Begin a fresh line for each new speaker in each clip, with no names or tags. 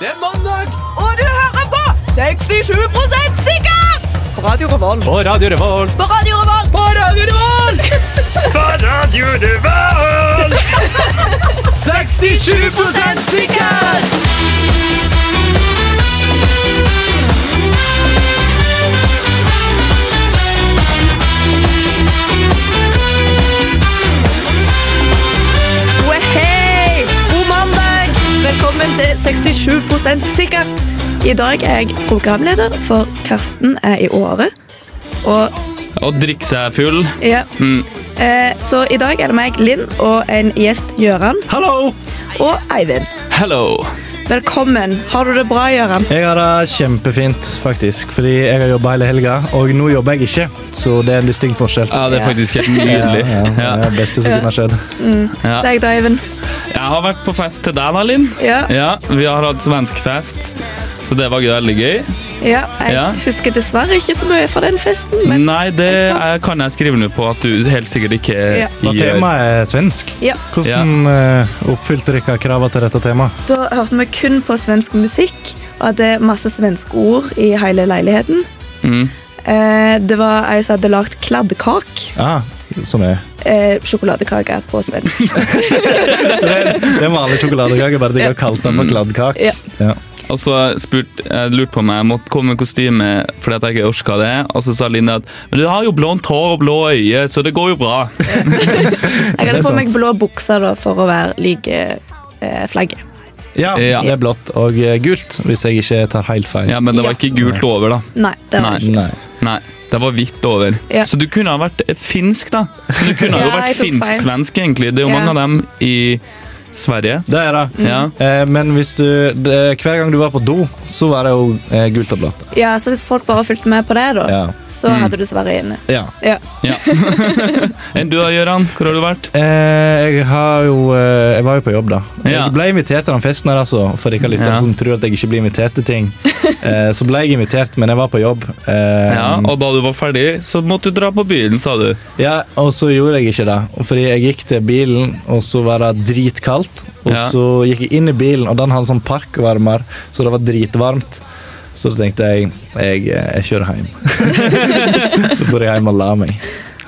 Det er mandag!
Og du hører på 67 sikker! På Radio Revolt.
På Radio Revolt!
På Radio Revolt.
På Radio Revolt! på Radio Revolt! 67 sikker!
Wehey! God mandag! Velkommen til 67 sikkert. I dag er jeg programleder, for Karsten er i året. Og
Og drikke seg full.
ja.
Mm.
Eh, så i dag er det meg, Linn, og en gjest, Gøran,
Hallo!
og Eivind.
Hello!
Velkommen. Har du det bra, Gøran?
Jeg har det kjempefint, faktisk. Fordi jeg har jobba hele helga, og nå jobber jeg ikke. Så det er en distinkt forskjell.
Ja, det er faktisk helt nydelig.
Ja, ja, det er det beste som kunne ha skjedd.
Ja.
Deg da, Eivind.
Jeg har vært på fest til deg da, Linn.
Ja.
Ja, vi har hatt svensk fest, så det var gøy, veldig gøy.
ja. Jeg
Ja. Mm.
husker dessverre ikke så mye fra den festen, men
Nei, det eh, kan jeg skrive ned på at du helt sikkert ikke
Ja.
Da
gjør.
temaet er svensk.
Ja.
Hvordan eh, oppfylte dere kravene til dette temaet?
Da hørte vi kun på svensk musikk, og det er masse svenske ord i hele leiligheten.
Mm.
Eh, det var ei som hadde lagd kladdkak.
Ah,
sånn
som er.
Eh, sjokoladekake på svensk.
Så det er det er en vanlig sjokoladekake, bare at jeg har kalt den for kladdkake.
Ja.
Ja.
Og så spurt, jeg lurte på om jeg måtte komme med kostyme fordi at jeg ikke orka det. Og så sa Linn at Men du har jo blondt hår og blå øyne, så det går jo bra.
Jeg
Det
hadde
er
på meg
sant.
blå bukser da, for å være lik eh, flagget.
Ja,
Ja.
det er blått og eh, gult, hvis jeg ikke tar helt feil.
Ja, Men det var
Ja.
ikke gult over, da.
Nei, det var
Nei.
det ikke.
Nei.
Nei, det var hvitt over.
Ja.
Så du kunne ha vært finsk, da. Du kunne
Ja,
jo
jeg
vært
tok
finsk-svensk, egentlig. Det er jo
Ja.
mange av dem i Sverige.
Det er det.
Ja.
Eh, men hvis du, det, hver gang du var på do, så var det jo eh, gult og blått.
Ja, så hvis folk bare fulgte med på det, da,
Ja.
så
Mm.
hadde du svaret inne.
ja.
Ja.
ja. Enn du da, Gøran? Hvor har du vært?
Eh, jeg, har jo, eh, jeg var jo på jobb, da.
Ja.
Jeg ble invitert til den festen her, altså. For dere lyttere
Ja.
som tror at jeg ikke blir invitert til ting. Eh, så ble jeg invitert, men jeg var på jobb. Eh,
Ja, Og da du var ferdig, så måtte du dra på byen, sa du.
ja, og så gjorde jeg ikke det. Fordi jeg gikk til bilen, og så var det dritkaldt. Og
Ja.
så gikk jeg inn i bilen, og den hadde sånn parkvarmer, så det var dritvarmt. Så da tenkte jeg jeg, eh, jeg kjører hjem. så får jeg hjem og la meg.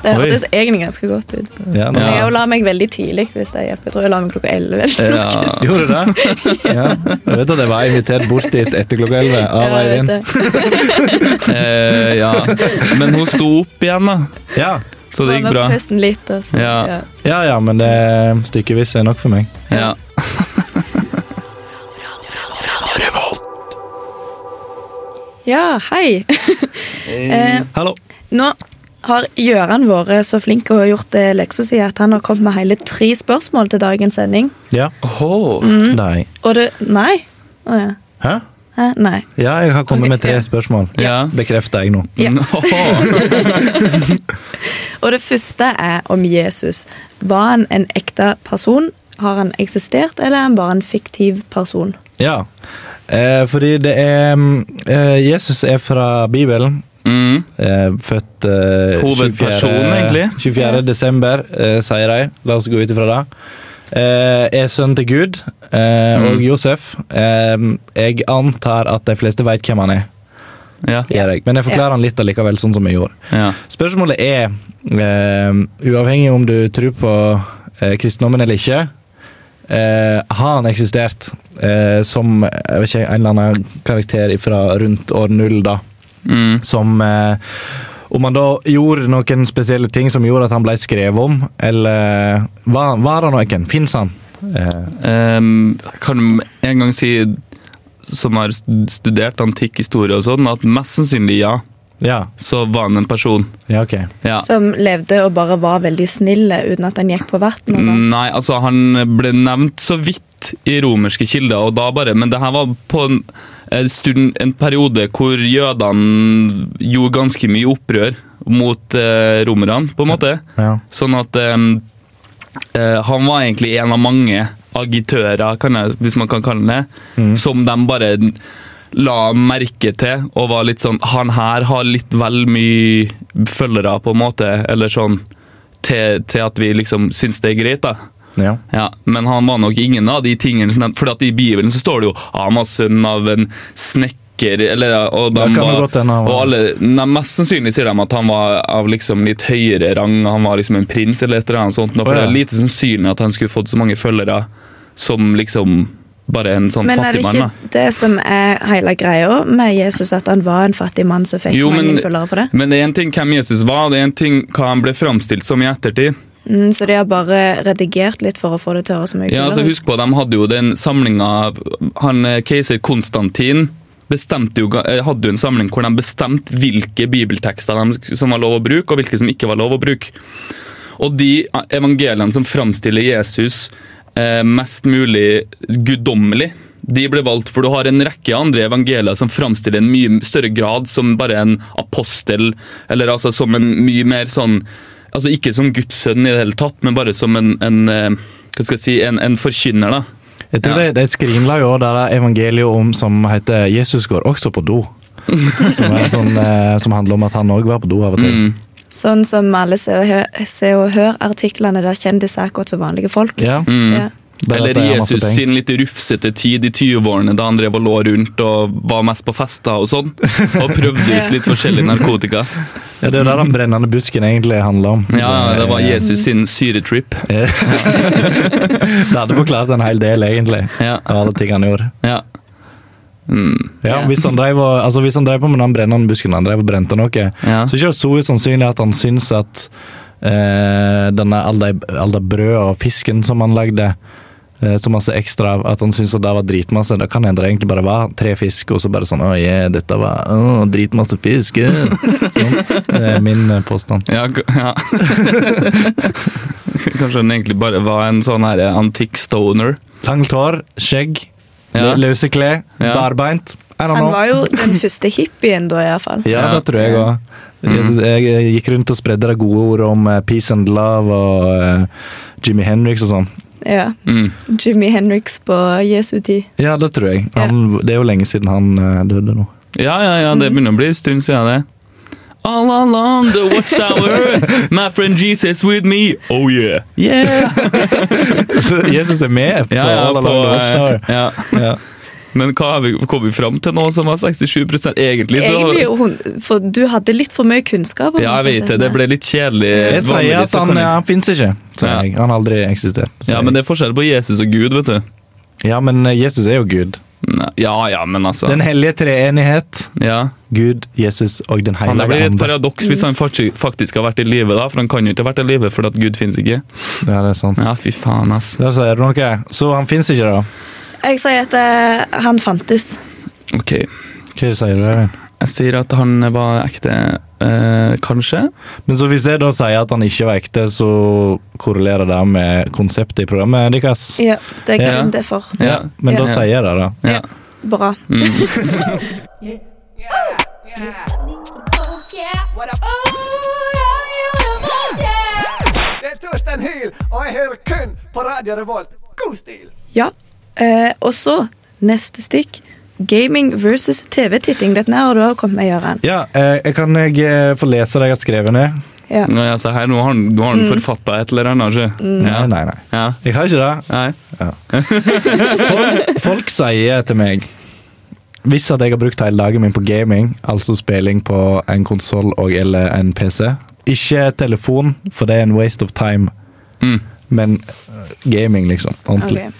Det
Oi.
hørtes egentlig ganske godt ut. Men
Ja, da.
jeg la meg veldig tidlig, hvis det hjelper. Jeg tror jeg la meg klokka 11.
Ja.
Gjorde du det? Ja. Jeg vet at jeg var invitert bort dit etter klokka elleve av
Ja, jeg vet
Eivind.
det.
Eh, ja. Men hun sto opp igjen, da.
Ja.
Så det
Var
gikk
med
bra.
på festen litt, og så,
Ja.
ja.
Ja, ja, men det stykkevis er nok for meg.
Ja.
Ja, hei. eh,
Hallo.
nå har Gjøran vært så flink og gjort det leksa si at han har kommet med hele tre spørsmål til dagens sending.
Ja.
Åhå.
Mm,
Nei.
Og det Nei. Å ja.
Hæ?
Hæ? Nei.
Ja, jeg har kommet med tre spørsmål.
Ja.
Bekrefter jeg nå.
Ja.
Mm, åhå.
Og det første er om Jesus. Var han en ekte person? Har han eksistert, eller er han bare en fiktiv person?
Ja. Eh, fordi det er mm, eh, Jesus er fra Bibelen.
Mm.
Eh, født eh,
Hovedpersonen, egentlig.
24. desember, eh, sier de. La oss gå ut ifra det. Eh, er sønn til Gud eh,
Mm.
og Josef. Eh, jeg antar at de fleste vet hvem han er.
Ja.
gjør jeg. Men jeg forklarer han litt allikevel, sånn som jeg gjorde.
ja.
Spørsmålet er, eh, uavhengig om du tror på eh, kristendommen eller ikke, eh, har han eksistert eh, som jeg vet ikke, en eller annen karakter fra rundt år null, da?
Mm.
Som eh, Om han da gjorde noen spesielle ting som gjorde at han ble skrevet om, eller var, var han noen? Fins han? Eh,
Ehm, kan du en gang si, som har studert antikk historie og sånn, at mest sannsynlig ja,
ja.
så var han en person.
Ja, OK.
Ja.
Som levde og bare var veldig snill uten at han gikk på vann og sånn.
Nei, altså han ble nevnt så vidt i romerske kilder, og da bare, men det her var på en, en stund, en periode hvor jødene gjorde ganske mye opprør mot eh, romerne, på en måte.
Ja.
Sånn at ehm, eh, han var egentlig en av mange agitører, kan jeg, hvis man kan kalle det, som de bare la merke til og var litt sånn Han her har litt vel mye følgere, på en måte, eller sånn, til, til at vi liksom syns det er greit, da.
Ja.
Ja, men han var nok ingen av de tingene som For at i Bibelen så står det jo ah, han var sønn av en snekker eller, og, de
Det kan
var,
det godt hende han var.
og alle, nei, Mest sannsynlig sier de at han var av liksom litt høyere rang, han var liksom en prins eller et eller annet sånt. nå, For
Å, ja.
det er lite sannsynlig at han skulle fått så mange følgere som liksom bare en sånn
Men er det
fattig mann. da.
ikke det som er hele greia med Jesus, at han var en fattig mann som fikk
Jo, men-
mange følgere på det?
Men det er én ting hvem Jesus var, og det er en ting hva han ble framstilt som i ettertid.
Mm, så de har bare redigert litt for å få det til å høres så mye
Ja, altså
kulere ut?
Husk på, de hadde jo den samlinga Han eh, keiser Konstantin bestemte jo, ga- eh, hadde jo en samling hvor de bestemte hvilke bibeltekster de, som var lov å bruke, og hvilke som ikke var lov å bruke. Og de eh, evangeliene som framstiller Jesus eh, mest mulig guddommelig, de ble valgt, for du har en rekke andre evangelier som framstiller en mye større grad som bare en apostel, eller altså som en mye mer sånn Altså ikke som Guds sønn i det hele tatt, men bare som en, en eh, hva skal jeg si, en, en forkynner, da.
Jeg tror
Ja.
de, de skrinla jo det der evangeliet om som heter 'Jesus går også på do'. Som, er sånn, eh, som handler om at han òg var på do av og til.
Mm.
Sånn som alle Se og Hø- Se og Hør-artiklene der kjendiser er akkurat som vanlige folk. Ja.
Ja. Det er at
Mm. Eller
de har masse
Jesus
penger.
sin litt rufsete tid i 20-årene, da han drev og lå rundt og var mest på fester og sånn, og prøvde ut litt forskjellig narkotika.
Ja, det er det den brennende busken egentlig handler om. Eh,
Ja, det var Jesus sin syretrip.
Det hadde forklart en hel del, egentlig,
Ja.
av alle ting han gjorde.
Ja.
Ja, hvis, han drev, og- altså, hvis han drev på med den brennende busken, han drev og brente noe,
Ja.
så er ikke det så usannsynlig at han syns at eh, denne, all det all det brødet og fisken som han lagde, eh, så masse ekstra av, at han syns at det var dritmasse. Da kan hende det egentlig bare var tre fisk, og så bare sånn Å, yeah, dette var å, dritmasse fisk. eh». Sånn. Det er min eh, påstand.
Ja, k- ja. Kanskje han egentlig bare var en sånn her antikk stoner.
Langt hår, skjegg,
Ja.
løse klær,
Ja.
barbeint. I don't
Han
know.
var jo den første hippien da, iallfall.
Ja,
Ja. Mm.
det tror jeg òg. Jeg, synes- jeg eh, gikk rundt og spredde det gode ordet om eh, peace and love og eh, Jimmy Hendrix og sånn.
Ja.
Mm.
Jimmy Henriks på Jesu tid.
Ja, det tror jeg. Han, Det er jo lenge siden han eh, døde nå.
Ja, ja, ja,
Mm.
det begynner å bli en stund siden det. All along the watchtower, my friend Jesus with me. Oh yeah. Yeah. Altså,
Så Jesus er med på
Ja, ja,
All
på,
Along the Watchtower.
eh, ja.
Ja.
Men hva har vi, kom vi fram til nå som var 67 egentlig? Så,
Egentlig, hun, for du hadde litt for mye kunnskap. om
ja, jeg vet det. Det ble litt kjedelig.
Jeg sier
Vanligvis
at
så
han, eh,
kan jeg-
han fins ikke. sier
Ja.
jeg. Han har aldri eksistert. sier
ja, men det er forskjell på Jesus og Gud, vet du.
jeg. ja, men eh, Jesus er jo Gud.
Nei, Ja, ja, men altså.
Den hellige treenighet.
ja.
Gud, Jesus og Den
Faen, det
hellige
blir et
ande.
paradoks hvis han fakti- faktisk har vært i live, da. For han kan jo ikke ha vært i live fordi at Gud finnes ikke.
Ja, det er sant.
Ja, fy faen, ass.
Der sier du noe. Så han fins ikke, da?
Jeg sier at eh, han fantes.
Ok.
Hva sier du? Eivind?
Jeg sier at han var ekte, eh, kanskje.
Men så hvis jeg da sier at han ikke var ekte, så korrelerer det med konseptet i programmet deres.
Ja, det er
Ja.
kun derfor.
Ja.
Men da
Ja.
sier jeg det, da.
ja.
Bra.
Oh yeah. What up? Oh, yeah, yeah.
Det er Torstein Hyl, og jeg hører kun på Radio Revolt. God stil!
Ja. Eh, og så, neste stikk. Gaming versus TV-titting. Dette her har du også kommet med, Jøran.
Ja, eh, jeg kan jeg eh, få lese det jeg har skrevet ned?
Ja.
Nå, ja, se her, nå har han, nå har han forfatta et eller annet, ikke
Mm.
Nei,
Ja.
nei, nei.
ja.
Jeg har ikke det.
Nei.
Folk sier til meg Hvis at jeg har brukt hele dagen min på gaming, altså spilling på en konsoll og eller en PC Ikke telefon, for det er en waste of time,
Mm.
men eh, gaming, liksom. Ordentlig.
Ok.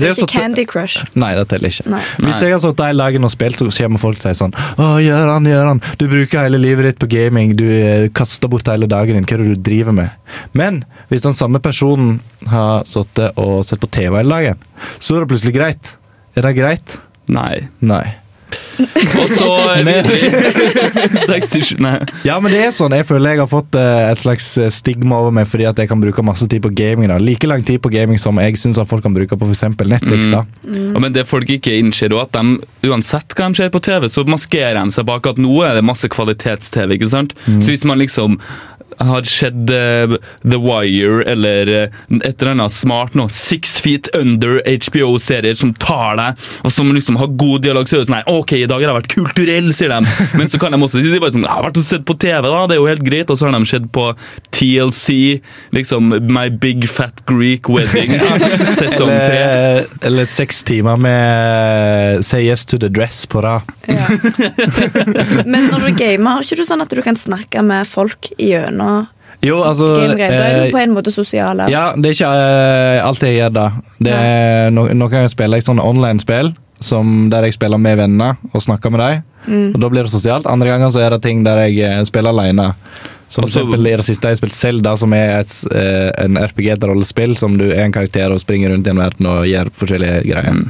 Så
jeg har
ikke
satt-
Candy Crush.
Nei, det teller ikke.
Nei.
Hvis jeg har sittet hele dagen og spilt, så kommer folk og sier sånn Å, Gøran, Gøran, du bruker hele livet ditt på gaming, du eh, kaster bort hele dagen din, hva er det du driver med? Men hvis den samme personen har sittet og sett på TV hele dagen, så er det plutselig greit. Er det greit?
Nei.
Nei.
Og så er
Men-
vi- 67 Nei.
Ja, men det er sånn. Jeg føler jeg har fått eh, et slags eh, stigma over meg fordi at jeg kan bruke masse tid på gaming. da. Like lang tid på gaming som jeg syns folk kan bruke på f.eks. Netflix. da.
Ja, Men det folk ikke innser, og at de, uansett hva de ser på TV, så maskerer de seg bak at nå er det masse kvalitets-TV. ikke sant? Så hvis man liksom har sett eh, The Wire eller eh, et eller annet smart nå, Six Feet Under, HBO-serier som tar deg, og som liksom har god dialog, så er det sånn her OK, i dag har jeg vært kulturell, sier de. Men så kan de også de er bare sånn, jeg har vært og sett på TV, da, det er jo helt greit. Og så har de sett på TLC, liksom My Big Fat Greek Wedding, sesong tre.
Eller, eller seks timer med eh, Say Yes to the Dress på rad.
Men når du gamer, har ikke du sånn at du kan snakke med folk gjennom
Jo, altså
gamegreier? Da er
eh,
du på en måte sosial. eller?
Ja, det er ikke eh, alt jeg gjør da. Det er no noen ganger spiller jeg sånne online-spill som der jeg spiller med venner og snakker med dem.
Mm.
Og Da blir det sosialt. Andre ganger så er det ting der jeg eh, spiller alene. Som for
Også-
eksempel i det siste har jeg spilt Zelda, som er et, eh, en RPG-rollespill som du er en karakter og springer rundt i en verden og gjør forskjellige greier.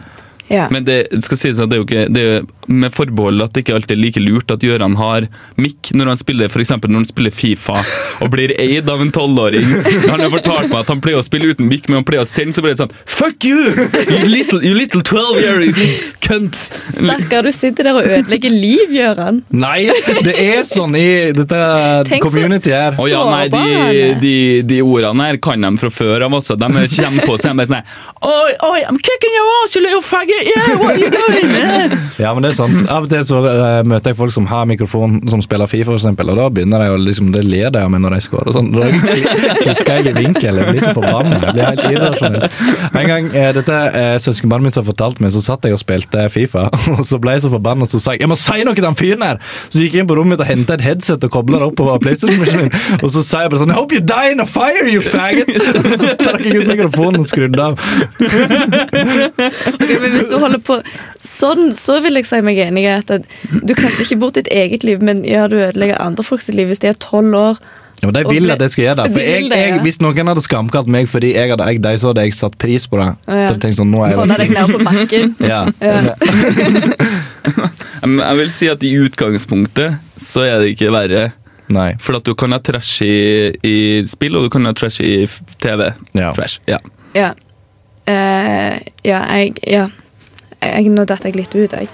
Ja.
Men det skal sies at det er jo ikke det er, jo- Med forbehold at det ikke alltid er like lurt at Gøran har mikk når han spiller for eksempel når han spiller Fifa og blir eid av en tolvåring. Han har fortalt meg at han pleier å spille uten mikk, men han pleier å sende så blir det sånn Fuck you! You little, you little 12-year cunt!
Stakkar, du sitter der og ødelegger liv, Gøran.
Nei, det er sånn i dette
Tenk så-
community her.
Å ja, nei, de,
Sårbar.
de, de ordene her kan de fra før av også. De kommer på seg med sånn her Oi, oi, I'm kicking your ass, you little faggot! Yeah, what are you doing?
Ja, men det er sant. Av og til så eh, møter jeg folk som har mikrofon, som spiller Fifa, for eksempel, og da begynner de å liksom, det ler de av meg når de scorer. og Sånn. Da klikker jeg i vinkel, jeg blir så forbanna. Jeg blir helt irrasjonell. En gang eh, dette eh, søskenbarnet mitt som fortalte meg, så satt jeg og spilte Fifa, og så ble jeg så forbanna, så sa jeg 'jeg må si noe til han fyren her'! Så gikk jeg inn på rommet mitt og henta et headset og kobla det opp på PlayStation-maskinen, min, og så sa jeg bare sånn 'I hope you die in a fire, you faggot'! Og så trakk jeg ut mikrofonen og skrudde av.
Ok, men hvis du holder på sånn, så vil jeg si meg enig i at at du kaster ikke bort ditt eget liv, men ja, du ødelegger andre folks liv hvis de er tolv år.
Ja, men De
Og
vil
ble-
at jeg skal gjøre det.
De
For jeg,
vil det, ja.
jeg, hvis noen hadde skamkalt meg fordi jeg hadde eid dem, så hadde jeg satt pris på det.
Ja.
Da tenkte jeg sånn, nå er
Holder
jeg
deg ned på bakken.
ja.
Ja.
Men Jeg vil si at i utgangspunktet så er det ikke verre.
Nei.
For at du kan ha trash i, i spill, og du kan ha trash i f- TV.
Ja.
Trash, ja.
Ja. Eh, ja, jeg Ja. Jeg, nå datt jeg litt ut, jeg.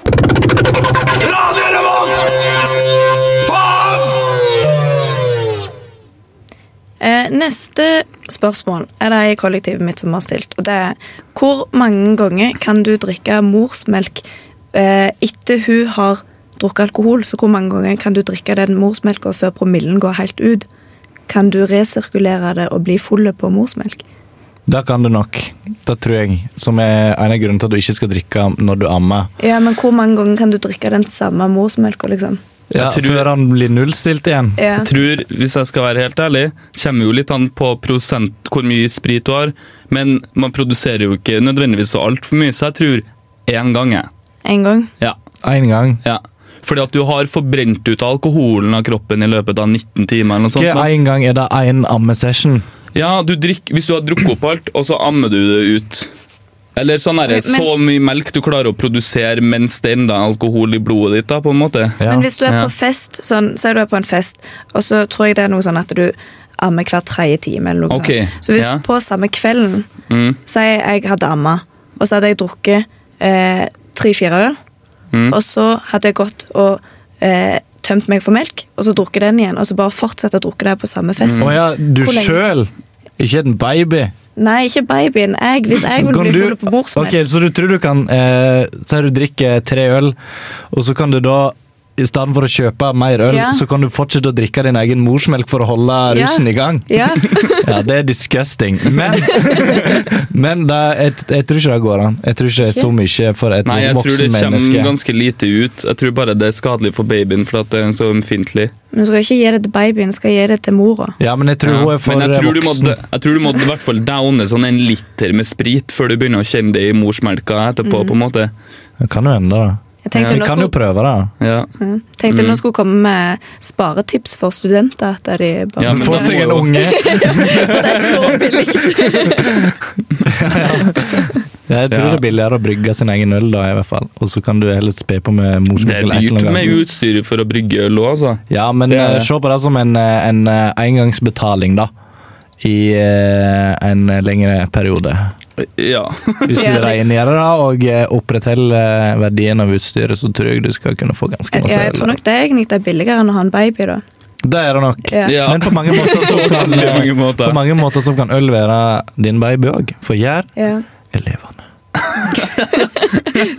Eh, neste spørsmål er det i kollektivet mitt som har stilt. Og det er hvor mange ganger kan du drikke morsmelk eh, etter hun har drukket alkohol? Så hvor mange ganger kan du drikke den morsmelka før promillen går helt ut? Kan du resirkulere det og bli full på morsmelk?
Da kan du nok. Det tror jeg. Som er en av grunnene til at du ikke skal drikke når du ammer.
Ja, men hvor mange ganger kan du drikke den samme morsmelka, liksom?
Ja,
Jeg tror-
Før han blir nullstilt igjen.
Ja.
Jeg tror, hvis jeg skal være helt ærlig, kommer jo litt an på prosent hvor mye sprit du har, men man produserer jo ikke nødvendigvis så altfor mye, så jeg tror én gang, jeg.
En gang.
Ja.
Én gang.
ja. Fordi at du har forbrent ut alkoholen av kroppen i løpet av 19 timer. eller noe sånt.
Ikke
nå.
én gang er det én ammesession.
Ja, du drikk, Hvis du har drukket opp alt, og så ammer du det ut. Eller sånn er det,
Men-
så mye melk du klarer å produsere mens det ennå er alkohol i blodet ditt. da, på en måte.
Ja.
Men hvis du er
Ja.
på fest, sånn, si du er på en fest, og så tror jeg det er noe sånn at du ammer hver tredje time, eller noe
Ok,
sånt. Så hvis
ja.
på samme kvelden,
Mm.
si jeg hadde amma, og så hadde jeg drukket eh, tre-fire øl,
Mm.
og så hadde jeg gått og eh, tømt meg for melk, og så drukket den igjen, og så bare fortsette å drukke det på samme fest.
Mm.
Å ja, du
Hvor lenge?
sjøl! Ikke en baby.
Nei, ikke babyen. Jeg, hvis jeg vil
Kan
bli
du-
full på morsmelk.
Ok, Så du tror du kan eh, Si du drikker tre øl, og så kan du da i stedet for å kjøpe mer øl,
Ja.
så kan du fortsette å drikke din egen morsmelk for å holde
Ja.
rusen i gang?
Ja.
Ja, det er disgusting. Men, men det, jeg, jeg tror ikke det går an. Jeg tror ikke det er så mye for et
Nei, jeg tror det
voksen
kommer
menneske.
ganske lite ut. Jeg tror bare det er skadelig for babyen, for at det er så ømfintlig.
Men du skal ikke gi det til babyen, du skal gi det til mora.
Ja, men jeg tror
Ja.
hun er for eh,
Men jeg tror, du må,
voksen.
jeg tror du må i hvert fall downe sånn en liter med sprit før du begynner å kjenne det i morsmelka etterpå, på en måte.
Det kan jo hende, da.
Jeg
Ja,
tenkte, nå
Vi kan
skulle-
jo prøve, da.
Ja.
Mm. Tenkte nå skulle komme med sparetips for studenter. at de bare,
Ja, men
Få
da må
seg en
jo-
unge.
Det er så billig!
Jeg tror
Ja.
det er billigere å brygge sin egen øl, da, i hvert fall. Og så kan du heller spe på med
Det er
morsmelk. eller et eller
dyrt med
annet.
utstyr for å brygge øl òg, altså.
Ja, men
Det er det.
eh, se på det som en, eh, en eh, engangsbetaling, da. I eh, en lengre periode.
altså. Ja.
Hvis
Ja,
du
det-
regnerer det og eh, opprettholder eh, verdien av utstyret, så tror jeg du skal kunne få ganske
Ja,
masse
jeg tror
øl.
nok det er egentlig det er billigere enn å ha en baby. da.
Det er det nok.
Ja.
Ja.
Men på mange måter så kan, eh,
Veldig mange måter.
på mange måter så kan øl være din baby òg, for gjær
Ja.
er levende.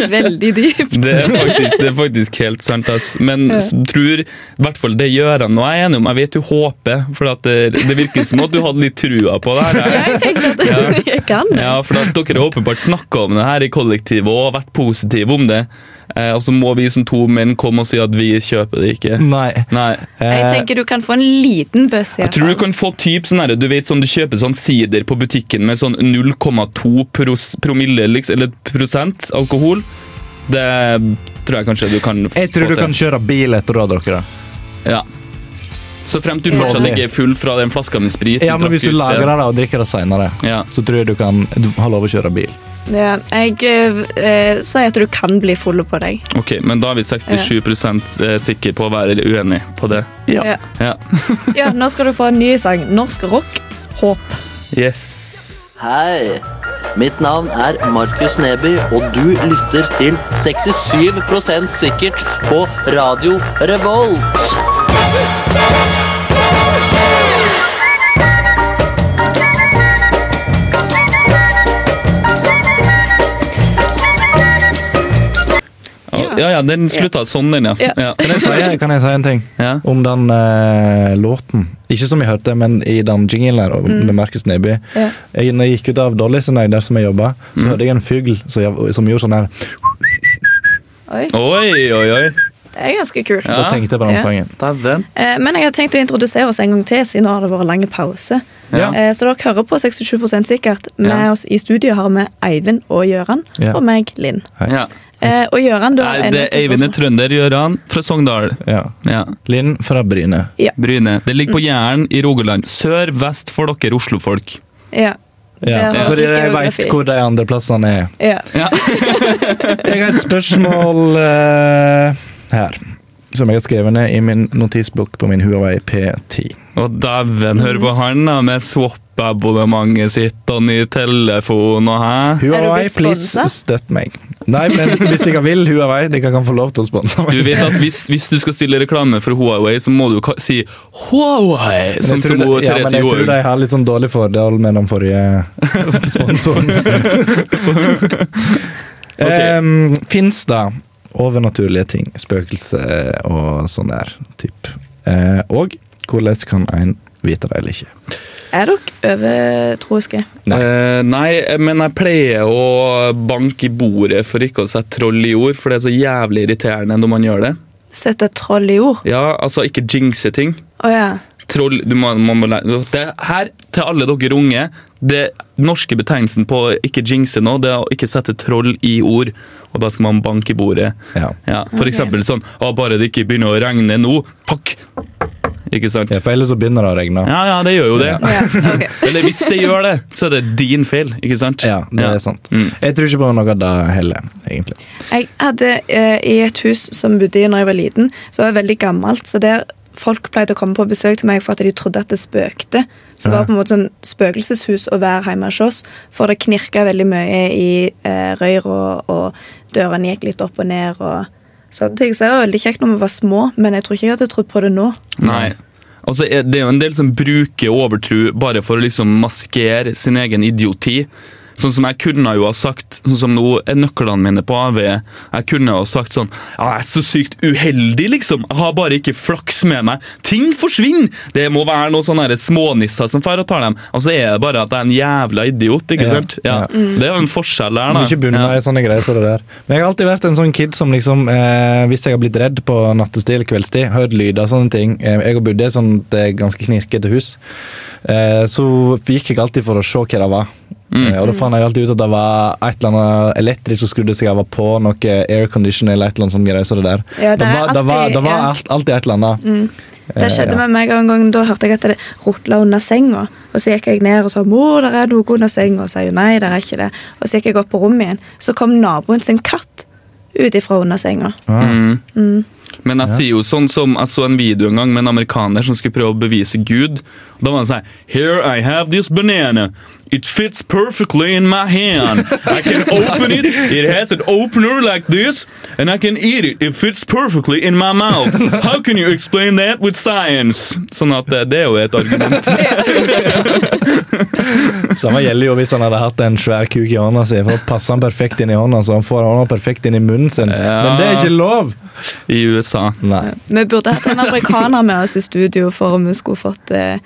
Veldig dypt.
Det er faktisk, det er faktisk helt sant. ass. Men s- tror, i hvert fall det gjør han, og jeg er enig om Jeg vet du håper, for at det, det virker som at du hadde litt trua på det her.
Jeg tenkte at jeg kan det.
Ja, for at dere har åpenbart snakka om det her i kollektivet og vært positive om det. Eh, og så må vi som to menn komme og si at vi kjøper det ikke.
Nei.
Nei.
Jeg
Eh,
tenker du kan få en liten bøss. i
Jeg
hvert
tror du
fall.
kan få typ sånn her, du vet sånn du kjøper sånn sider på butikken med sånn 0,2 pros- promille liksom, eller prosent alkohol. Det tror jeg kanskje du kan f-
jeg tror du kan kjøre bil etter du har drukket det.
Ja. Så fremt du fortsatt
Ja.
ikke er full fra den flaska med sprit
Ja, men
drakk
hvis du
i sted.
lagrer det og drikker det seinere,
Ja.
så tror jeg du kan du har lov å kjøre bil.
Ja, jeg eh, eh, sier at du kan bli full på deg.
Ok, men da er vi 67 eh, sikre på å være uenig på det.
Ja.
Ja.
Ja.
Ja, nå skal du få en ny sang. Norsk rock. Håp.
Yes.
Hei! Mitt navn er Markus Neby, og du lytter til 67 sikkert på Radio Revolt.
Ja. ja, den slutta sånn, den, ja.
Ja.
ja.
Kan jeg, si, kan jeg si en ting
Ja.
om den eh, låten? Ikke som jeg hørte, men i den jinglen her og- med Markus Neby.
Mm. Ja.
Jeg, når jeg gikk ut av Dollys en dag, der som jeg jobba, så
Mm.
hørte jeg en fugl som, jeg- som gjorde sånn her.
Oi,
Oi, oi, oi.
det er ganske kult.
Da tenkte jeg på den
Ja.
sangen.
Dæven.
Eh, Men jeg har tenkt å introdusere oss en gang til, siden nå har det vært lang pause.
Ja.
Eh, Så dere hører på 67 sikkert. Med
Ja.
oss i studio har vi Eivind og Gøran,
Ja.
og meg, Linn.
Ja.
Eh, Og Gøran, du har
Nei,
en
det
liten
Eivind er
spørsmål.
trønder, Gøran fra Sogndal.
Ja.
Ja.
Linn fra Bryne.
Bryne. Det ligger på Jæren i Rogaland. Sør-vest for dere oslofolk.
Ja. Der
Ja.
har
Fordi
vi
jeg
geografi.
veit hvor de andre plassene er.
Ja.
Ja.
Jeg har et spørsmål eh, her. Som jeg har skrevet ned i min notisbok på min Huawei P10.
Og dæven, hør på han da, med swap-abonnementet sitt og ny telefon og hæ?
Huawei,
blitt
please
sponsa?
støtt meg. Nei, men hvis dere vil Huawei, dere kan få lov til å sponse
Du
meg.
vet at hvis, hvis du skal stille reklame for Huawei, så må du ka- si Huawei,
Men
som,
jeg tror
som
de-
hun
ja, men
Therese
jeg tror de
Johaug.
har litt sånn dårlig forhold med den forrige sponsoren. um, Fins det overnaturlige ting, spøkelse og sånn der typ? Eh, og hvordan kan en vite det eller ikke?
Er dere overtroiske?
Nei.
Eh, nei, men jeg pleier å banke i bordet for ikke å sette troll i jord, for det er så jævlig irriterende når man gjør det.
Sett et troll i jord?
Ja, altså ikke jinxe ting.
Å ja.
Troll, du må, man må lære det Her, til alle dere unge, det norske betegnelsen på å ikke jinxe nå, det er å ikke sette troll i ord. Og da skal man banke i bordet.
Ja.
Ja, for eksempel sånn å, Bare det ikke begynner å regne nå. Fuck! Ikke sant?
ja, for ellers så begynner det å regne.
Ja, ja, det gjør jo det.
ja. ok.
Eller hvis det gjør det, så er det din feil, ikke sant?
Ja, det er sant.
Mm.
Jeg tror ikke på noe av det heller, egentlig.
Jeg hadde eh, I et hus som bodde i når jeg var liten, så var det veldig gammelt. så der Folk pleide å komme på besøk til meg for at de trodde at det spøkte. Så det var på en måte sånn spøkelseshus å være hjemme hos oss, for det knirka veldig mye i eh, røyra, og, og dørene gikk litt opp og ned. og sånne ting. Så det var veldig kjekt når vi var små, men jeg tror ikke jeg hadde trodd på det nå.
Nei. Altså, er- det er jo en del som bruker overtro bare for å liksom maskere sin egen idioti. Sånn som jeg kunne jo ha sagt, sånn som nå er nøklene mine på AV. Jeg kunne jo ha sagt sånn ja, Jeg er så sykt uheldig, liksom. Jeg har bare ikke flaks med meg. Ting forsvinner! Det må være noen sånne her smånisser som drar og tar dem. Og så er det bare at jeg er en jævla idiot, ikke
Ja,
sant? Ja.
ja.
Det er jo en forskjell der, da.
Mye bunna i sånne greier som det der. Men jeg har alltid vært en sånn kid som liksom eh, Hvis jeg har blitt redd på nattestid eller kveldstid, hørt lyder og sånne ting eh, Jeg har bodd i et sånt eh, ganske knirkete hus. Eh, så gikk jeg alltid for å se hva det var. Eh, og da fant jeg alltid ut at det var et eller annet elektrisk som skrudde seg av og på, noe aircondition eller et eller annet sånt greier som det der.
Ja, det er
var, det var,
alltid-
det var
ja. Mm.
alt, alltid et eller annet.
Det skjedde
Eh, ja.
med meg en gang. Da hørte jeg at det rotla under senga. Og Så gikk jeg ned og sa mor, der er noe under senga. Og sa hun nei, det er ikke det. Og Så gikk jeg opp på rommet igjen. Så kom naboen sin katt ut ifra under senga.
Ah.
Men jeg sier jo sånn som Jeg så en video en gang med en amerikaner som skulle prøve å bevise Gud. Og Da var han sånn Here I have this banana. It fits perfectly in my hand. I can open it. It has an opener like this. And I can eat it. It fits perfectly in my mouth. How can you explain that with science? Sånn at eh, det er jo et argument.
Samme gjelder jo hvis han hadde hatt en svær kuk i hånda si. For passer han perfekt inn i hånda, så han får hånda perfekt inn i munnen sin.
Ja.
Men det er ikke lov!
I USA.
Nei.
Vi burde hatt en amerikaner med oss i studio for om vi skulle fått eh,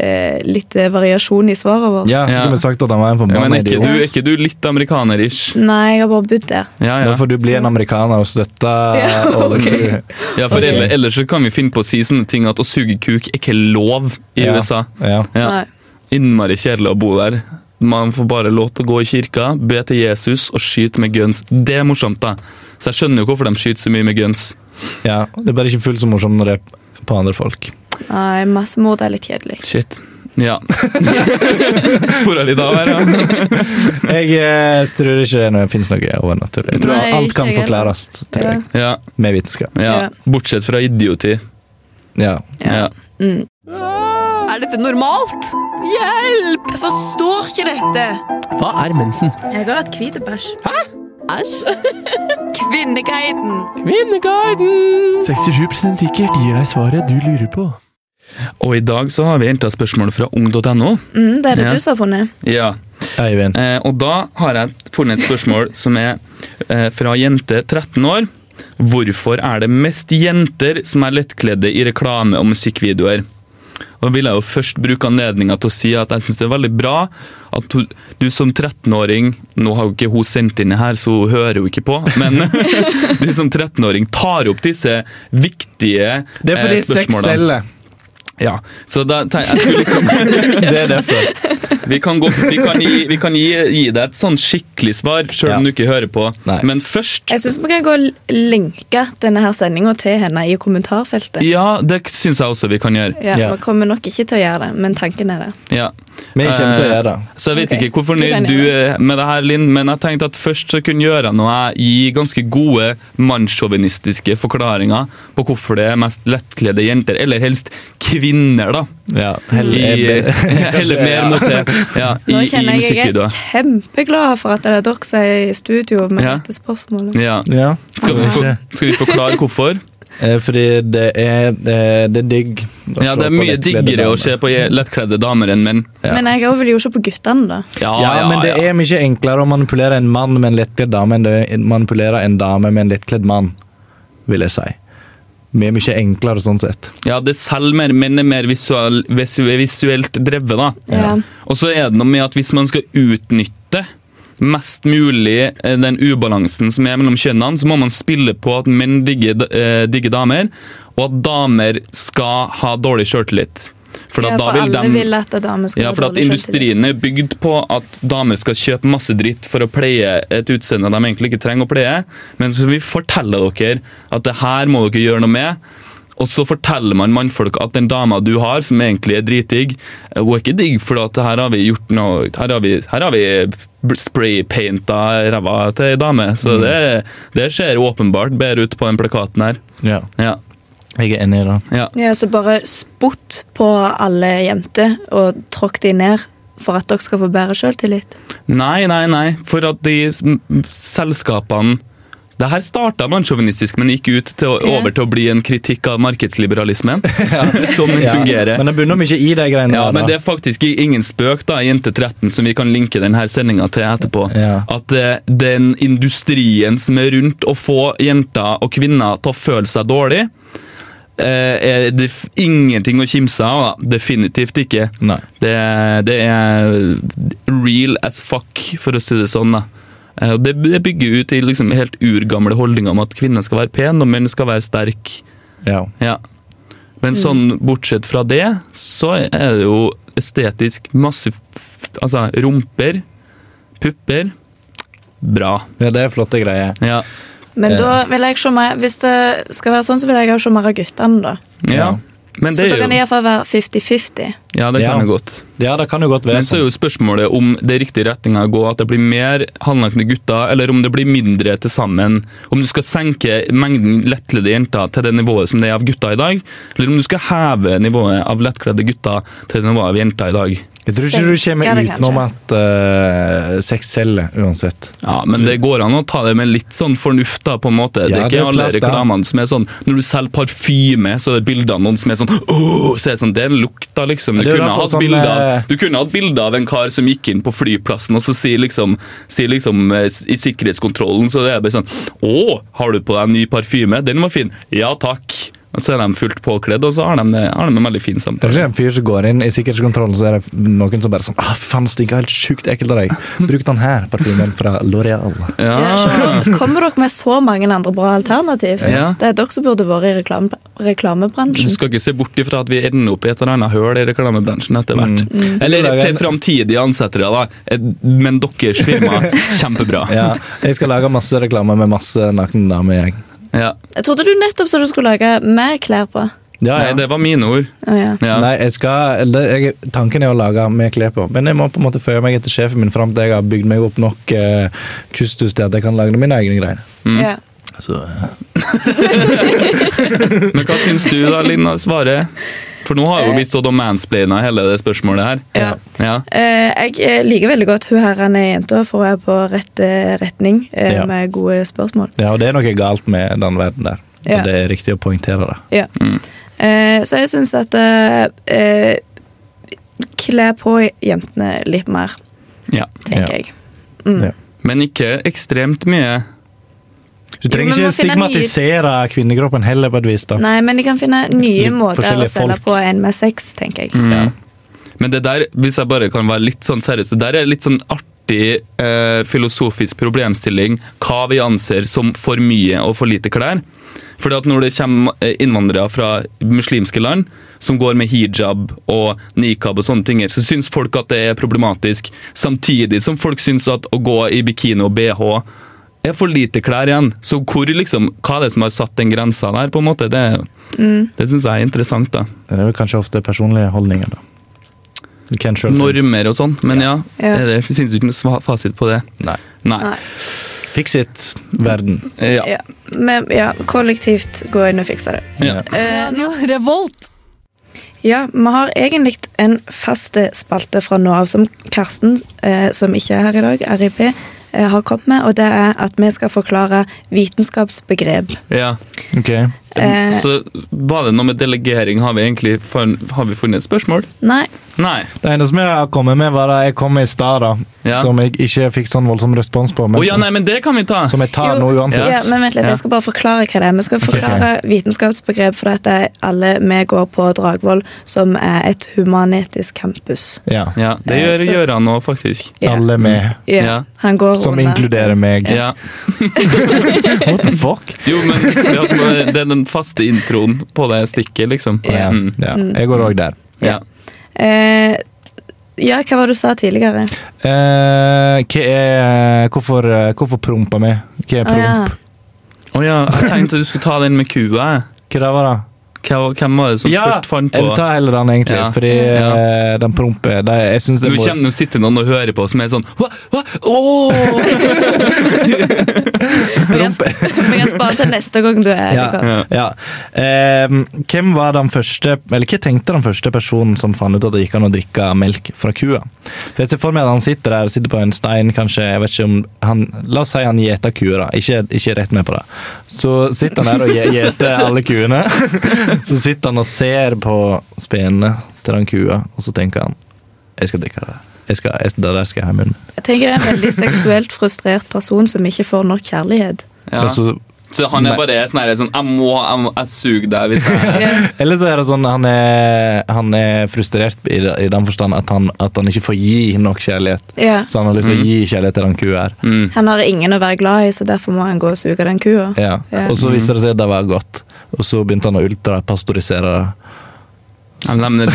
eh, litt eh, variasjon i svaret vårt.
Ja, så
Ja.
kunne vi sagt at han var en
Altså. Ja, men er
forbanna
ikke,
idiot.
du, er ikke du litt amerikaner-ish?
Nei, jeg har bare bodd der.
Ja,
Da
ja.
får du bli en amerikaner og støtte
Ja,
og
ok.
tro.
ja for ellers, ellers så kan vi finne på å si sånne ting at å suge kuk er ikke lov i
Ja.
USA.
Ja.
Ja.
Nei.
Innmari kjedelig å bo der. Man får bare lov til å gå i kirka, be til Jesus og skyte med guns. Det er morsomt, da. Så jeg skjønner jo hvorfor de skyter så mye med guns.
ja. Det er bare ikke fullt så morsomt når det er på andre folk.
Nei, massemord er litt kjedelig.
Shit. Ja. Spora litt av her, ja.
Jeg eh, tror ikke det finnes noe overnaturlig. Jeg tror
Nei,
alt
ikke
kan
jeg heller.
forklares tror jeg,
Ja,
med vitenskap.
ja.
Ja.
Bortsett fra idioti.
Ja.
Ja.
Mm.
Er dette normalt? Hjelp!
Jeg forstår ikke dette!
Hva er mensen?
Jeg har hatt hvit bæsj.
Æsj.
Kvinneguiden!
Kvinneguiden! 67 sikkert gir deg svaret du lurer på.
Og i dag så har vi henta spørsmål fra ung.no.
Mm, det er det
Ja.
du som har funnet.
Ja.
Øyvind.
Eh, og da har jeg funnet et spørsmål som er eh, fra jente 13 år. Hvorfor er det mest jenter som er lettkledde i reklame og musikkvideoer? Og da vil jeg jo først bruke anledninga til å si at jeg syns det er veldig bra at du, du som 13-åring Nå har jo ikke hun sendt inn det her, så hun hører jo ikke på. Men du som 13-åring tar opp disse viktige
Det er fordi
eh,
sex
spørsmålene.
selger.
Ja, så da, te- jeg skulle liksom
Det er derfor.
vi kan, gå, vi kan, gi, vi kan gi, gi deg et sånn skikkelig svar, selv om
Ja.
du ikke hører på.
Nei.
Men først
Jeg syns vi kan gå og linke denne her sendinga til henne i kommentarfeltet.
Ja, det syns jeg også vi kan gjøre.
Ja,
Ja.
Vi kommer nok ikke til å gjøre det, men tanken er det.
Ja. Eh,
Vi kommer til å gjøre det.
Så jeg vet
Ok,
ikke hvor
du kan
fornøyd du er med det her, Linn, men jeg tenkte at først så kunne jeg gjøre noe jeg gi ganske gode mannssjåvinistiske forklaringer på hvorfor det er mest lettkledde jenter, eller helst kvinner, da.
Ja,
I, eh, heller mer mot det ja, i,
Nå
i
kjenner jeg jeg er
musikkvideoer.
kjempeglad for at det er dere som er i studio med
Ja.
dette spørsmålet.
Ja.
Ja.
Skal, vi for, skal vi forklare hvorfor?
Eh, Fordi det er, eh, det er digg. å
Ja,
se
Det er
på
mye
lettkledde
diggere å
damer.
se på je- lettkledde damer enn menn.
Ja.
Men jeg òg vil jo se på guttene, da.
Ah, Ja,
Ja, men det er mye enklere å manipulere en mann med en lettkledd dame enn det er å manipulere en dame med en lettkledd mann, vil jeg si. Vi er mye enklere sånn sett.
Ja, det selger mer, men er mer visuell, visu, visuelt drevet, da.
Ja.
Og så er det noe med at hvis man skal utnytte mest mulig eh, den ubalansen som er mellom kjønnene, så må man spille på at menn digger, da- eh, digger damer, og at damer skal ha dårlig sjøltillit. For,
Ja,
at da
for
vil
alle
dem-
vil at damer skal
ja,
ha
for at
dårlig selvtillit.
industrien er bygd på at damer skal kjøpe masse dritt for å pleie et utseende de egentlig ikke trenger å pleie, men så vi forteller dere at det her må dere gjøre noe med, og så forteller man mannfolk at den dama du har, som egentlig er dritdigg, eh, hun er ikke digg, for at her har vi gjort noe Her har vi, her har vi bl- spraypainta ræva til ei dame, så det, det ser åpenbart bedre ut på den plakaten her.
Ja,
Ja,
jeg er enig i det.
ja.
Ja, så bare spott på alle jenter og tråkk de ned for at dere skal få bedre sjøltillit.
Nei, nei, nei. For at de s- m- selskapene det her starta mannssjåvinistisk, men gikk ut til å,
Ja.
over til å bli en kritikk av markedsliberalismen. som den fungerer.
Men det bunner mye i de greiene
Ja,
der,
men
da.
det er faktisk ingen spøk, da, Jente 13, som vi kan linke denne sendinga til etterpå.
Ja.
At eh, den industrien som er rundt å få jenter og kvinner til å føle seg dårlig, eh, er det f- ingenting å kimse av. da. Definitivt ikke.
Nei.
Det, det er real as fuck, for å si det sånn. da. Eh, og Det, det bygger ut i liksom helt urgamle holdninger om at kvinner skal være pen og menn skal være sterk.
Ja.
Ja.
Mm.
Men sånn, bortsett fra det, så er det jo estetisk masse f- Altså rumper, pupper Bra.
ja, det er flotte greier.
Ja.
Men
Ja.
da vil jeg se mer Hvis det skal være sånn, så vil jeg også se mer av guttene, da.
ja.
Ja.
Men
Så
det
da
er
kan det
jo
iallfall være 50-50.
Ja, det
Ja.
kan jo godt.
Ja, det kan jo godt være
Men så er jo spørsmålet om det er riktig retninga å gå, at det blir mer halvnakne gutter, eller om det blir mindre til sammen. Om du skal senke mengden lettkledde jenter til det nivået som det er av gutter i dag, eller om du skal heve nivået av lettkledde gutter til det nivået av jenter i dag.
Jeg tror ikke du
Senker
kommer
det
utenom at eh, sex selger, uansett.
Ja, Men det går an å ta det med litt sånn fornuft, da, på en måte. det
Ja,
er
det
ikke
er
alle
klart det.
reklamene som er sånn Når du selger parfyme, så er det bilder av noen som er sånn Åh, så er det sånn, Det er lukta, liksom.
Ja,
Du
det er
kunne,
i hvert fall
hatt
sånn,
bilder, av-
eh,
du kunne hatt bilder av en kar som gikk inn på flyplassen, og så sier liksom, sier liksom eh, s- I sikkerhetskontrollen så det er bare sånn Å, har du på deg en ny parfyme? Den var fin. Ja takk. Og så er de fullt påkledd, og så har de, har de en veldig fin
Det er
samtale.
ikke en fyr som går inn i sikkerhetskontrollen, så er det noen som bare sånn ah, faen, det stinker helt sjukt ekkelt av deg. Bruk den her parfymen fra L'Oreal.
Ah.
Ja, så Kommer dere med så mange andre bra alternativ?
Ja. Mm.
Det er dere som burde vært i reklame,
Du
Mm.
reklamebransjen.
skal ikke se bort ifra at vi ender opp i et eller annet høl i reklamebransjen etter hvert. Eller
Mm. Jeg tror det
til
er en-
framtidige ansettere, da. Eh, Men deres firma, kjempebra.
Ja, jeg skal lage masse reklame med masse nakne damer. Jeg.
Ja.
Jeg trodde du nettopp sa du skulle lage mer klær på.
Ja,
Nei,
ja.
det var mine ord.
Å ja.
Ja.
Nei, jeg skal, eller, jeg, tanken er å lage med klær på, men jeg må på en måte føye meg etter sjefen min fram til jeg har bygd meg opp nok eh, kustus til at jeg kan lage mine egne greier.
Ja.
Så, eh,
Men hva syns du da, Linn, av svaret? For nå har jo
Eh.
vi stått og mansplaina hele det spørsmålet her.
Ja.
Ja.
Eh, jeg eh, liker veldig godt hun her han er jenta, for hun er på rett eh, retning eh,
Ja.
med gode spørsmål.
ja, og det er noe galt med den verden der.
Ja.
Og det er riktig å poengtere det.
Ja. Eh, så jeg syns at eh, eh, Kle på jentene litt mer,
Ja.
tenker
Ja.
jeg. Mm.
Men ikke ekstremt mye.
Du
men man
trenger ikke
finner nye-
stigmatisere kvinnekroppen heller, på et vis. da.
Nei, men de kan finne nye
Litt
måter å
forskjellige
selge
folk.
på enn med sex, tenker jeg.
Ja.
Men det der, hvis jeg bare kan være litt sånn seriøs, det der er litt sånn artig eh, filosofisk problemstilling hva vi anser som for mye og for lite klær. Fordi at når det kommer eh, innvandrere fra muslimske land som går med hijab og nikab og sånne ting, her, så syns folk at det er problematisk. Samtidig som folk syns at å gå i bikini og bh er for lite klær igjen. Så hvor liksom, hva er det som har satt den grensa der, på en måte? Det, det syns jeg er interessant, da.
Det er jo kanskje ofte personlige holdninger, da. Du kan selv
normer og sånn, men ja,
Ja.
eh, det finnes jo ikke noe sva- fasit på det.
Nei.
Nei.
Nei.
Fix it, verden.
Eh, Ja.
Ja. Men ja, kollektivt gå inn og fikse det.
Ja.
Eh,
Radio Revolt.
ja, vi har egentlig en fast spalte fra nå av som Karsten, eh, som ikke er her i dag, RIP, eh, har kommet med, og det er at vi skal forklare vitenskapsbegrep.
Ja.
Ok.
Eh,
Så var det noe med delegering? Har vi egentlig fun- har vi funnet et spørsmål?
Nei,
Nei.
Det eneste jeg har kommet med, var det jeg kom med i stad, da.
Ja.
Som jeg ikke fikk sånn voldsom respons på,
Å
men
ja, nei, men det kan vi ta!
som, som jeg tar
Jo,
nå uansett.
Ja, men vent litt,
Ja.
Jeg skal bare forklare hva det er. Vi skal forklare vitenskapsbegrep, for dette er alle vi går på Dragvoll, som er et humanetisk campus.
Ja.
Ja, det
Eh,
gjør
så-
Gøran nå, faktisk.
Ja.
Alle med,
Ja,
Ja.
Han går
som
under.
inkluderer meg.
Ja.
What the fuck?
Jo, men vi har- det er den faste introen på det stikket, liksom.
Ja.
Mm.
ja. Jeg går òg der.
Ja.
Eh, ja, hva var det du sa tidligere?
Eh, hva er Hvorfor, eh, hvorfor prompa mi? Hva er
Å, Ah, ja.
promp?
Å ja, jeg tenkte du skulle ta den med kua. jeg.
Hva det var det?
Hva- Hvem var det som først fant
jeg vil
på
ta heller den, egentlig.
Ja.
Fordi
Ja.
eh, den prompe det, Jeg syns det
Nå
må-
kommer nå sitter noen og hører på som er sånn Hva? Hva? Åh!
Vi kan sp- vi kan spare til neste gang du er
Ja,
her.
ja. Ehm, hvem var den første, eller hva tenkte den første personen som fant ut at det gikk an å drikke melk fra kua? For jeg ser for meg at han sitter der, sitter på en stein, kanskje, jeg vet ikke om han, la oss si han gjeter kuer da, ikke, ikke rett med på det. Så sitter han der og gje- gjeter alle kuene, så sitter han og ser på spenene til den kua, og så tenker han, jeg skal drikke det. der. Jeg skal, jeg, det der skal jeg ha i munnen.
Jeg tenker det er en veldig seksuelt frustrert person som ikke får nok kjærlighet.
Ja.
Og så
Så han er
Nei.
bare sånn her, sånn Jeg må, jeg, må, jeg suger deg hvis jeg
Ja.
Eller så er det sånn han er, han er frustrert i, i den forstand at han, at han ikke får gi nok kjærlighet.
Ja.
Så han har lyst til å gi kjærlighet til den kua her.
mm.
Han har ingen å være glad i, så derfor må han gå og suge den kua.
Ja.
Ja.
Og så viser det seg at det var godt, og så begynte han å ultrapastorisere det.
Ja, men de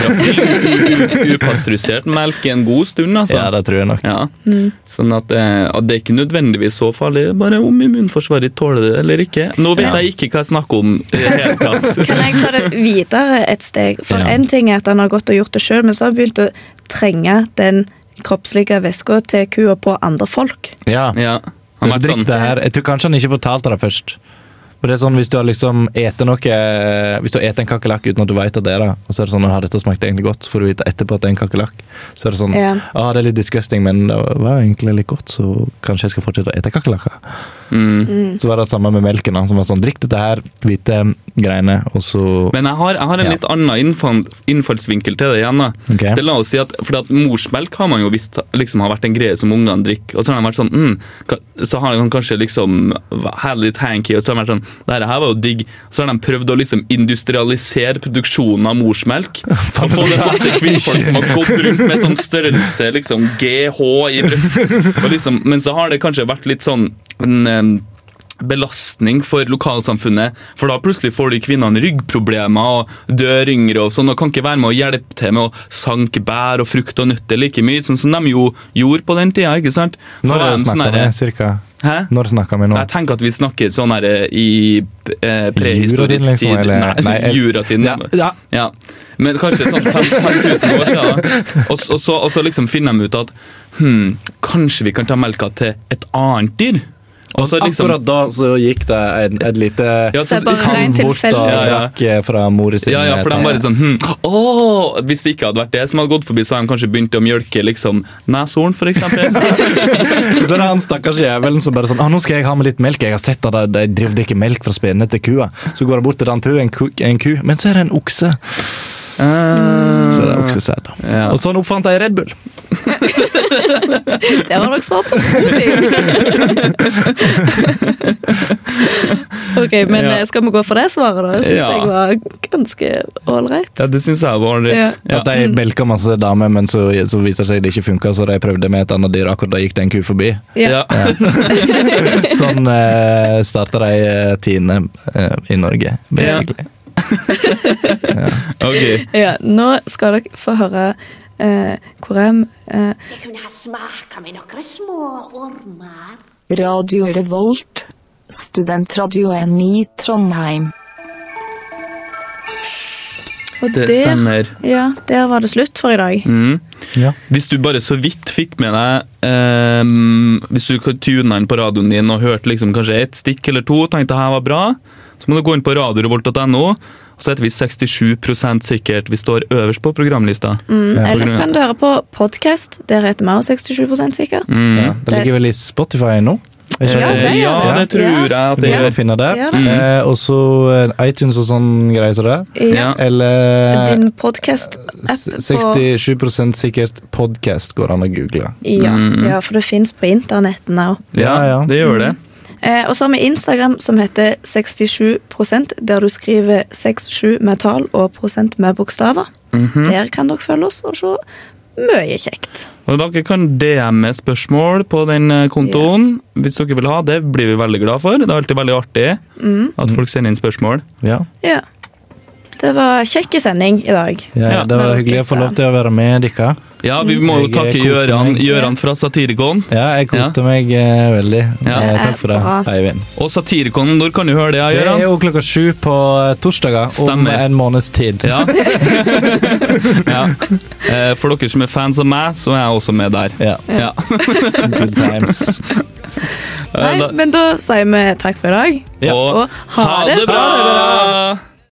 drakk u- u- upasteurisert melk i en god stund, altså.
Ja, det tror jeg nok.
Ja. Sånn at, eh, at det er ikke nødvendigvis så farlig, det er bare om immunforsvaret tåler det eller ikke. Nå vet jeg ikke hva jeg snakker om i det hele tatt.
Kan jeg ta det videre et steg? For
Ja.
én ting er at han har gått og gjort det sjøl, men så har han begynt å trenge den kroppslige væska til kua på andre folk.
Ja.
Ja. Han har vært
Drikk
sånn,
det her. Jeg tror kanskje han ikke fortalte det først. For det er sånn, Hvis du har liksom etet noe eh, Hvis du har etet en kakerlakk uten at du vet at det er det, og så er det sånn, «Å, dette smakte egentlig godt, så får du vite etterpå at det er en kakerlakk. Så er det sånn
Ja.
ah, det er litt disgusting, men det var egentlig litt godt, så kanskje jeg skal fortsette å ete kakerlakker.
mm.
Så var det samme med melken, da, som var sånn drikk dette her, hvite greiene, og så
Men jeg har, jeg har en
Ja.
litt annen innfall, innfallsvinkel til det igjen. da.
Ok.
Det la oss si at, fordi at Morsmelk har man jo visst liksom, har vært en greie som ungene drikker. Og så har de vært sånn, mm, ka- så har de kanskje liksom hatt litt hanky, og så har de vært sånn Det her var jo digg. Så har de prøvd å liksom industrialisere produksjonen av morsmelk. Og få det masse kvinnfolk som har gått rundt med sånn størrelse liksom GH i bryst. Og liksom, men så har det kanskje vært litt sånn en, em, belastning for lokalsamfunnet, for da plutselig får de kvinnene ryggproblemer og dør yngre og sånn, og kan ikke være med å hjelpe til med å sanke bær og frukt og nøtter like mye, sånn som de jo gjorde på den tida, ikke sant? Så
Når
var de sånn
snakka vi?
herre-
Cirka?
Hæ?
Når snakka vi nå?
Jeg tenker at vi snakker sånn her eh, i eh, prehistorisk
Juratiden, liksom,
tid.
eller?
Nei,
Nei, jeg-
juratiden.
Ja, ja.
Ja. Men kanskje sånn 5000 år siden. Og, s- og, så, og så liksom finner de ut at hmm, kanskje vi kan ta melka til et annet dyr? Og så liksom,
Akkurat da så gikk det en- et lite
Ja,
Så
så,
er bare rein
Halvort
tilfeldig.
og
Ja, ja.
rakk eh, fra mora sin eh,
ja, ja, for de bare sånn hm, åh, Hvis det ikke hadde vært det som hadde gått forbi, så hadde de kanskje begynt å mjølke liksom, neshorn, for eksempel.
Så er det han stakkars jævelen som bare sånn «Å, 'Nå skal jeg ha med litt melk.' Jeg har sett at de- de driver og drikker melk fra spennene til kua. Så går han bort til den til en, ku- en ku, men så er det en okse. Så
Mm.
er det oksesæd. da.
Ja.
Og sånn oppfant jeg Red Bull.
Der har dere svar på to ting. ok, men
Ja.
eh, skal vi gå for det svaret, da? Jeg syns
Ja.
jeg var ganske ålreit.
Ja, det syns jeg var
Ja.
ålreit. Ja.
At de
Mm.
melka masse damer, men så, så viser det seg det ikke funka, så de prøvde med et annet dyr. Akkurat da gikk det en ku forbi.
Ja.
Sånn eh, starta de eh, tiende eh, i Norge, basically.
Ok.
ja. Nå skal dere få høre eh, hvor jeg eh,
Jeg kunne ha smaka med noen små ormer.
Radio Revolt, studentradioen i Trondheim.
Og
Det
der-
stemmer.
Ja, der var det slutt for i dag.
Mm.
Ja.
Hvis du bare så vidt fikk med deg ehm, Hvis du tuna den på radioen din og hørte liksom kanskje et stikk eller to, tenkte her var bra, så må du gå inn på radiorevolt.no. og Så heter vi 67 sikkert. Vi står øverst på programlista.
Mm,
Ja.
ellers kan du høre på podkast. Der heter vi også 67 sikkert.
Mm.
Ja, det ligger vel i Spotify nå? Er ikke
Ja,
Eh,
det gjør
ja,
det.
det tror jeg
Så
at
det
det
er å
gjør.
finne der.
Ja,
det.
Eh, og så eh, iTunes og sånn greier som det.
Ja.
Ja. Eh,
Eller
Din podkast-app
s-
på
67 sikkert podcast går an å google.
ja,
Mm.
ja, for det fins på internetten òg.
Ja,
Ja, ja.
det gjør det.
Eh, og så har vi Instagram som heter 67 der du skriver 67 med tall og prosent med bokstaver.
Mhm.
Der kan dere følge oss og se mye kjekt.
Og Dere kan DM-e spørsmål på den eh, kontoen hvis dere vil ha. Det blir vi veldig glad for. Det er alltid veldig artig
Mm.
at folk sender inn spørsmål.
Ja.
Ja. Det var kjekk sending i dag.
Ja,
Ja,
det var
men-
hyggelig å få lov til å være med dere.
Ja, vi må jo
Jeg
takke
koste
Gøran,
meg.
Gøran fra Satirikon.
Ja, jeg koste meg eh, veldig.
Ja.
Eh, takk for det,
Bra.
Eivind.
Og Satirikon, når kan du høre det,
Det er
Gøran?
jo klokka sju på eh, torsdager om
Stemmer.
en måneds tid.
Ja. ja. Eh, For dere som er fans av meg, så er jeg også med der.
Ja,
Ja.
good times.
Eh,
Nei,
da-
men da sier vi takk for i dag.
Og ha det bra!